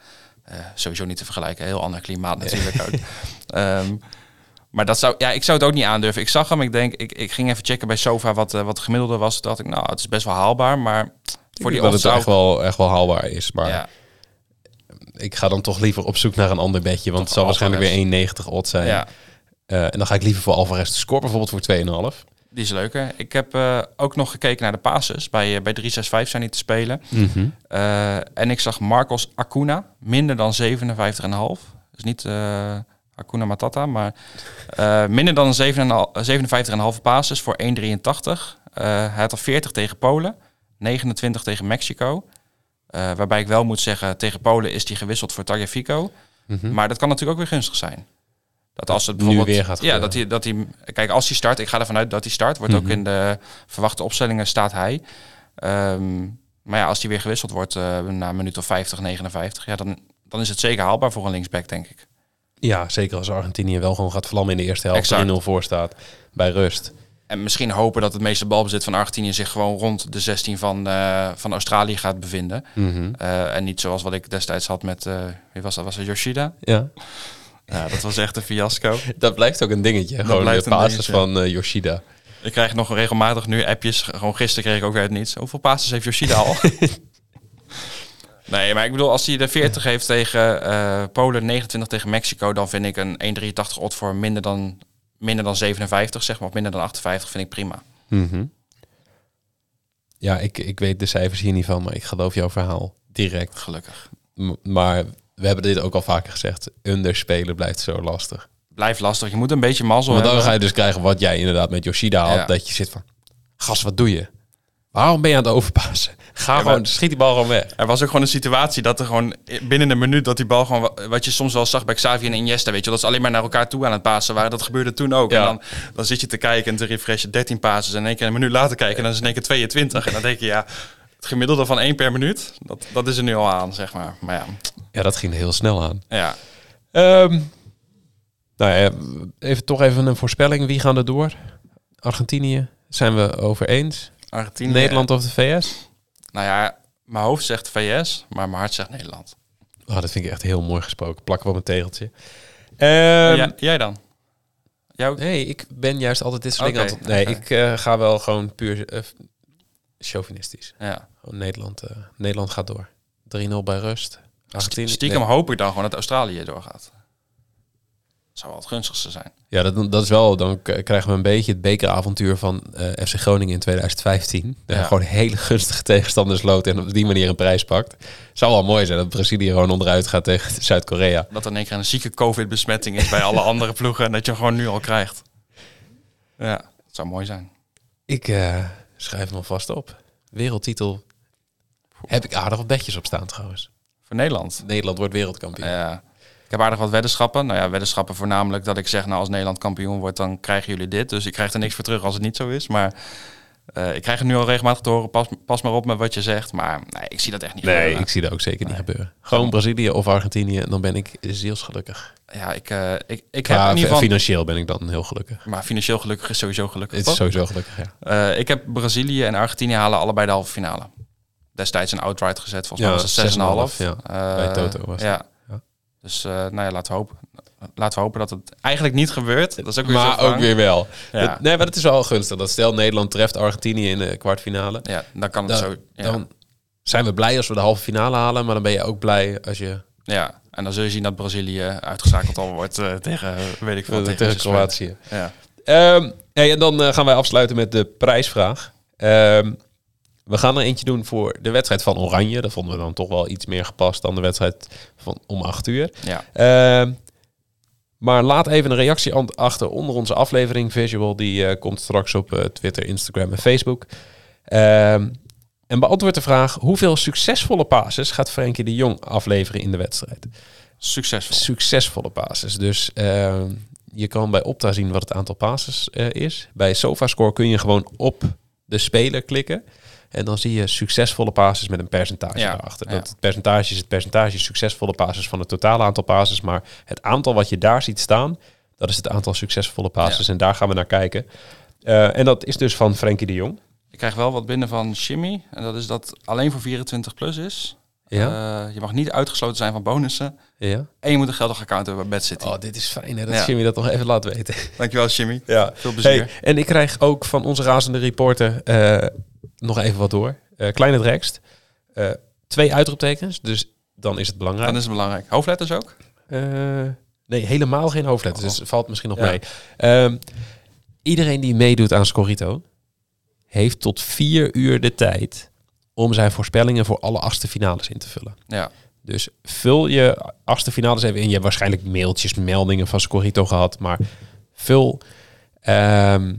Eh, sowieso niet te vergelijken, heel ander klimaat natuurlijk ook. Ehm, maar dat zou, ja, ik zou het ook niet aandurven. Ik zag hem, ik denk, ik, ik ging even checken bij Sofa wat, eh, wat de gemiddelde was. Toen dacht ik, nou, het is best wel haalbaar, maar voor die
dat het
odds zou-
echt wel, echt wel haalbaar is. Maar
Ja,
ik ga dan toch liever op zoek naar een ander bedje. Want het zal
Toch
waarschijnlijk weer 1,90 odd zijn.
ja,
Eh, en dan ga ik liever voor Alvarez te scoren, bijvoorbeeld voor 2,5.
die is leuker. Ik heb eh, ook nog gekeken naar de passes. Bij, eh, bij 365 zijn die te spelen. Eh, en ik zag Marcos Acuna minder dan 57,5. Dus niet eh Hakuna Matata. Maar eh, minder dan een 57,5 basis voor 1,83. Eh, hij had er 40 tegen Polen, 29 tegen Mexico. Eh, waarbij ik wel moet zeggen, tegen Polen is hij gewisseld voor Tagliafico. Maar dat kan natuurlijk ook weer gunstig zijn. Dat als het
Mhm. Nu
bijvoorbeeld,
weer gaat
ja,
gebeuren. Mhm.
dat hij, dat hij, kijk, als hij start, ik ga ervan uit dat hij start, wordt ook in de verwachte opstellingen staat hij. Ehm, maar ja, als hij weer gewisseld wordt eh, na een minuut of 50, 59, ja, dan, dan is het zeker haalbaar voor een linksback, denk ik.
Ja, zeker als Argentinië wel gewoon gaat vlammen in de eerste helft.
Exact.
3-0 voor staat bij rust.
En misschien hopen dat het meeste balbezit van Argentinië zich gewoon rond de 16 van, eh, van Australië gaat bevinden. Eh, en niet zoals wat ik destijds had met, eh, wie was dat, was het Yoshida?
Ja.
Ja, dat was echt een fiasco.
Dat blijft ook een dingetje. gewoon
blijft
de
een
basis
dingetje.
van eh, Yoshida.
Ik krijg nog regelmatig nu appjes. Gewoon gisteren kreeg ik ook weer uit niets. Hoeveel passes heeft Yoshida al? nee, maar ik bedoel, als hij de 40 heeft tegen eh, Polen, 29 tegen Mexico, dan vind ik een 1,83 odd voor minder dan, minder dan 57, zeg maar, of minder dan 58, vind ik prima.
Mhm. Ja, ik, ik weet de cijfers hier niet van, maar ik geloof jouw verhaal direct.
Gelukkig.
M- maar we hebben dit ook al vaker gezegd. Underspelen blijft zo lastig.
Blijft lastig. Je moet een beetje mazzel
Want dan
hebben.
ga je dus krijgen wat jij inderdaad met Yoshida had.
Ja.
Dat je zit van, gast, wat doe je? Waarom ben je aan het overpassen? Ga gewoon, schiet die bal gewoon weg.
Er was ook gewoon een situatie dat er gewoon eh, binnen een minuut dat die bal gewoon wa- wat je soms wel zag bij Xavi en Iniesta, weet je, wel, dat ze alleen maar naar elkaar toe aan het pasen waren. Dat gebeurde toen ook.
Ja.
En dan, dan zit je te kijken en te refreshen 13 passes en in één keer een minuut later kijken en dan is het in één keer 22 en dan denk je ja, het gemiddelde van één per minuut, dat, dat is er nu al aan, zeg maar. Maar ja,
Ja, dat ging heel snel aan.
ja.
Ehm, nou ja, even, toch even een voorspelling. Wie gaan er door? Argentinië zijn we over eens.
Argentinië.
Nederland of de VS?
Nou ja, mijn hoofd zegt VS, maar mijn hart zegt Nederland.
Oh, dat vind ik echt heel mooi gesproken. Plakken we op een tegeltje. Ehm,
Ja, jij dan? Jou?
Nee, ik ben juist altijd dit soort
Oké,
dingen. Altijd, nee,
oké.
ik eh, ga wel gewoon puur eh, chauvinistisch.
Ja.
Gewoon Nederland, eh, Nederland gaat door. 3-0 bij rust. Argentinië.
Stiekem
nee.
hoop ik dan gewoon dat Australië doorgaat. Zou wel het gunstigste zijn.
Ja, dat, dat is wel. Dan k- krijgen we een beetje het bekeravontuur van eh, FC Groningen in 2015. Dat
Ja.
gewoon hele gunstige tegenstanders loopt en op die manier een prijs pakt. Zou wel mooi zijn dat Brazilië gewoon onderuit gaat tegen Zuid-Korea.
dat er in één keer een zieke COVID-besmetting is bij alle andere ploegen en dat je hem gewoon nu al krijgt. Ja, dat zou mooi zijn.
Ik eh, schrijf hem alvast op. Wereldtitel. Heb ik aardig wat bedjes op staan trouwens. Eh,
Voor Nederland.
Nederland wordt wereldkampioen.
Ja. Ik heb aardig wat weddenschappen. Nou ja, weddenschappen voornamelijk dat ik zeg, nou als Nederland kampioen wordt, dan krijgen jullie dit. Dus ik krijg er niks voor terug als het niet zo is. Maar eh, ik krijg het nu al regelmatig te horen, pas, pas maar op met wat je zegt. Maar nee, ik zie dat echt niet
Nee,
gebeuren.
ik zie dat ook zeker niet gebeuren. Gewoon Brazilië of Argentinië, dan ben ik zielsgelukkig.
Ja, ik, eh, ik, ik heb in
Ja,
ieder geval...
financieel ben ik dan heel gelukkig.
maar financieel gelukkig is sowieso gelukkig.
Het
toch?
is sowieso gelukkig, ja.
Eh, ik heb Brazilië en Argentinië halen allebei de halve finale. Destijds een outright gezet, volgens mij
Ja,
was het 6,5.
6,5, ja.
Eh,
Bij Toto was
ja.
Ja.
Dus eh, nou ja, laten we hopen. Laten we hopen dat het eigenlijk niet gebeurt. Dat is ook weer
Maar
zo'n
ook
vraag.
weer wel.
Ja.
Dat- nee, maar dat is wel gunstig. Dat stel Nederland treft Argentinië in de kwartfinale.
Ja, dan kan
Dan,
het zo. Ja.
dan zijn we blij als we de halve finale halen. Maar dan ben je ook blij als je
ja, en dan zul je zien dat Brazilië uitgeschakeld al wordt eh, tegen, eh, weet ik veel,
tegen,
wie ze spelen.
Kroatië.
Ja.
Ehm, hey, en dan eh, gaan wij afsluiten met de prijsvraag. Ehm, we gaan er eentje doen voor de wedstrijd van Oranje. Dat vonden we dan toch wel iets meer gepast dan de wedstrijd van om 8 uur.
ja.
Ehm, maar laat even een reactie an- achter onder onze aflevering. Visual, die eh, komt straks op eh, Twitter, Instagram en Facebook. Ehm, en beantwoord de vraag: hoeveel succesvolle pases gaat Frenkie de Jong afleveren in de wedstrijd?
Succesvol.
Succesvolle pases. Dus ehm, je kan bij Opta zien wat het aantal pases eh, is. Bij SofaScore kun je gewoon op de speler klikken. En dan zie je succesvolle pases met een percentage
Ja,
daarachter.
ja.
Dat het percentage is het percentage succesvolle pases van het totale aantal pases. Maar het aantal wat je daar ziet staan, dat is het aantal succesvolle pases. En daar gaan we naar kijken. Eh, en dat is dus van Frenkie de Jong.
Ik krijg wel wat binnen van Jimmy. En dat is dat alleen voor 24 plus is. Eh, je mag niet uitgesloten zijn van bonussen.
ja.
En je moet een geldig account hebben bij Bad City.
Eh, Oh, dit is fijn hè, dat
Ja.
Jimmy dat nog even laat weten.
Dankjewel Jimmy.
Ja.
Veel plezier.
Hey, en ik krijg ook van onze razende reporter eh, nog even wat door. Eh Kleine Drekst. Eh, twee uitroeptekens, dus dan is het belangrijk.
Dan is het belangrijk. Hoofdletters ook?
Eh, nee, helemaal geen hoofdletters,
Oh.
dus het valt misschien nog
Ja.
mee. Ehm, iedereen die meedoet aan Scorito heeft tot vier uur de tijd om zijn voorspellingen voor alle achtste finales in te vullen.
Ja.
Dus vul je achtste finales even in. Je hebt waarschijnlijk mailtjes, meldingen van Scorito gehad. Maar vul ehm,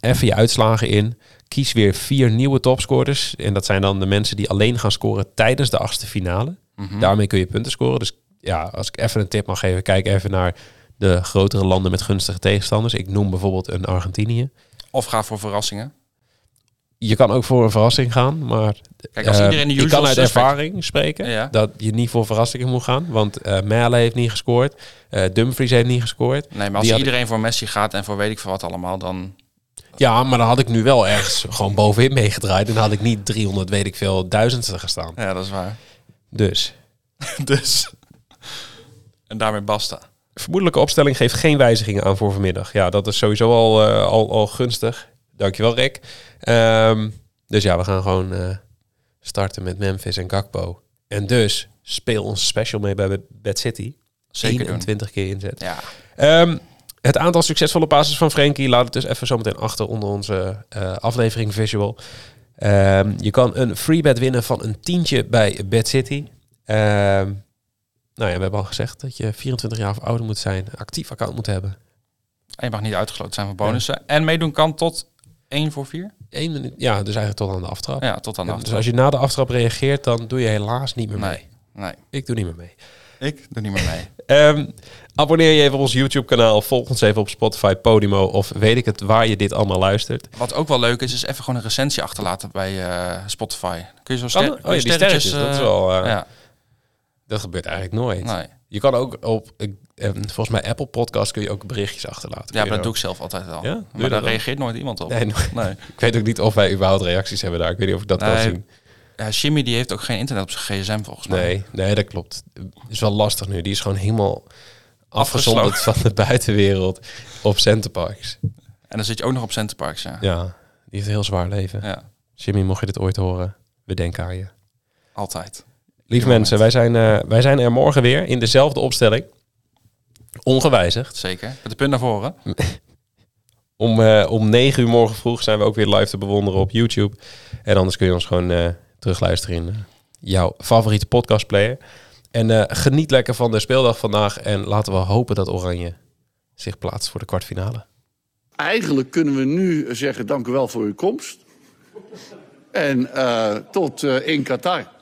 even je uitslagen in. Kies weer vier nieuwe topscorers. En dat zijn dan de mensen die alleen gaan scoren tijdens de achtste finale. Daarmee kun je punten scoren. Dus ja, als ik even een tip mag geven, kijk even naar de grotere landen met gunstige tegenstanders. Ik noem bijvoorbeeld een Argentinië.
Of ga voor verrassingen.
Je kan ook voor een verrassing gaan, maar
Kijk, als
eh,
iedereen de
ik
usual
kan uit
suspect-
ervaring spreken
Ja.
dat je niet voor verrassingen moet gaan. Want eh Melle heeft niet gescoord, eh, Dumfries heeft niet gescoord.
Nee, maar
Die
als
had-
iedereen voor Messi gaat en voor weet ik veel wat allemaal, dan...
Ja, maar dan had ik nu wel ergens gewoon bovenin meegedraaid. En dan had ik niet 300, weet ik veel, duizendste gestaan.
Ja, dat is waar.
Dus
dus... En daarmee basta.
vermoedelijke opstelling geeft geen wijzigingen aan voor vanmiddag. Ja, dat is sowieso al, eh, al, al gunstig. Dankjewel, Rick. Ehm, dus ja, we gaan gewoon eh, starten met Memphis en Gakpo. En dus speel ons special mee bij Bad City.
Zeker doen.
21 keer inzet.
Ja.
Ehm, het aantal succesvolle passes van Frenkie laat het dus even zometeen achter onder onze eh, aflevering visual. Ehm, je kan een free bet winnen van een tientje bij Bad City. Ehm, nou ja, we hebben al gezegd dat je 24 jaar of ouder moet zijn, een actief account moet hebben.
En je mag niet uitgesloten zijn van bonussen. En meedoen kan tot 1 voor 4.
Eén minuut, ja, dus eigenlijk tot aan de aftrap.
Ja, tot aan de
En dus
achterkant.
als je na de aftrap reageert, dan doe je helaas niet meer mee.
Nee, nee.
Ik doe niet meer mee.
Ik doe niet meer mee.
Ehm, abonneer je even op ons YouTube-kanaal. Volg ons even op Spotify, Podimo of weet ik het waar je dit allemaal luistert.
Wat ook wel leuk is, is even gewoon een recensie achterlaten bij eh, Spotify. Kun je zo
Kan
ster-
dat?
kun je
Oh ja, die sterretjes, dat is
eh,
wel, eh,
ja, Nou.
Dat gebeurt eigenlijk nooit.
nee.
Je kan ook op, ik- eh, volgens mij Apple Podcast kun je ook berichtjes achterlaten.
ja maar
Kun je
dat doe ik zelf altijd al.
Ja? Doe je
maar daar
dat dan?
reageert nooit iemand op.
Nee, nooit.
nee.
ook- Ik weet ook niet of wij überhaupt reacties hebben daar. Ik weet niet of ik dat kan
Nee,
zien.
Ja, Jimmy die heeft ook geen internet op zijn gsm volgens mij.
Nee, nee, dat klopt. Is wel lastig nu. Die is gewoon helemaal afgezonderd van de buitenwereld op Centerparks.
En dan zit je ook nog op Centerparks, ja. ja.
Ja, die heeft een heel zwaar leven. Jimmy, mocht je dit ooit horen, we denken aan je.
altijd.
Lief
Moment.
mensen, wij zijn, eh, wij zijn er morgen weer in dezelfde opstelling. Ongewijzigd.
Zeker. Met de punt naar voren.
Om, eh, om 9 uur morgen vroeg zijn we ook weer live te bewonderen op YouTube. En anders kun je ons gewoon eh, terugluisteren in eh, jouw favoriete podcastplayer. En eh, geniet lekker van de speeldag vandaag. En laten we hopen dat Oranje zich plaatst voor de kwartfinale.
Eigenlijk kunnen we nu zeggen: dank u wel voor uw komst. En eh, tot eh, in Qatar.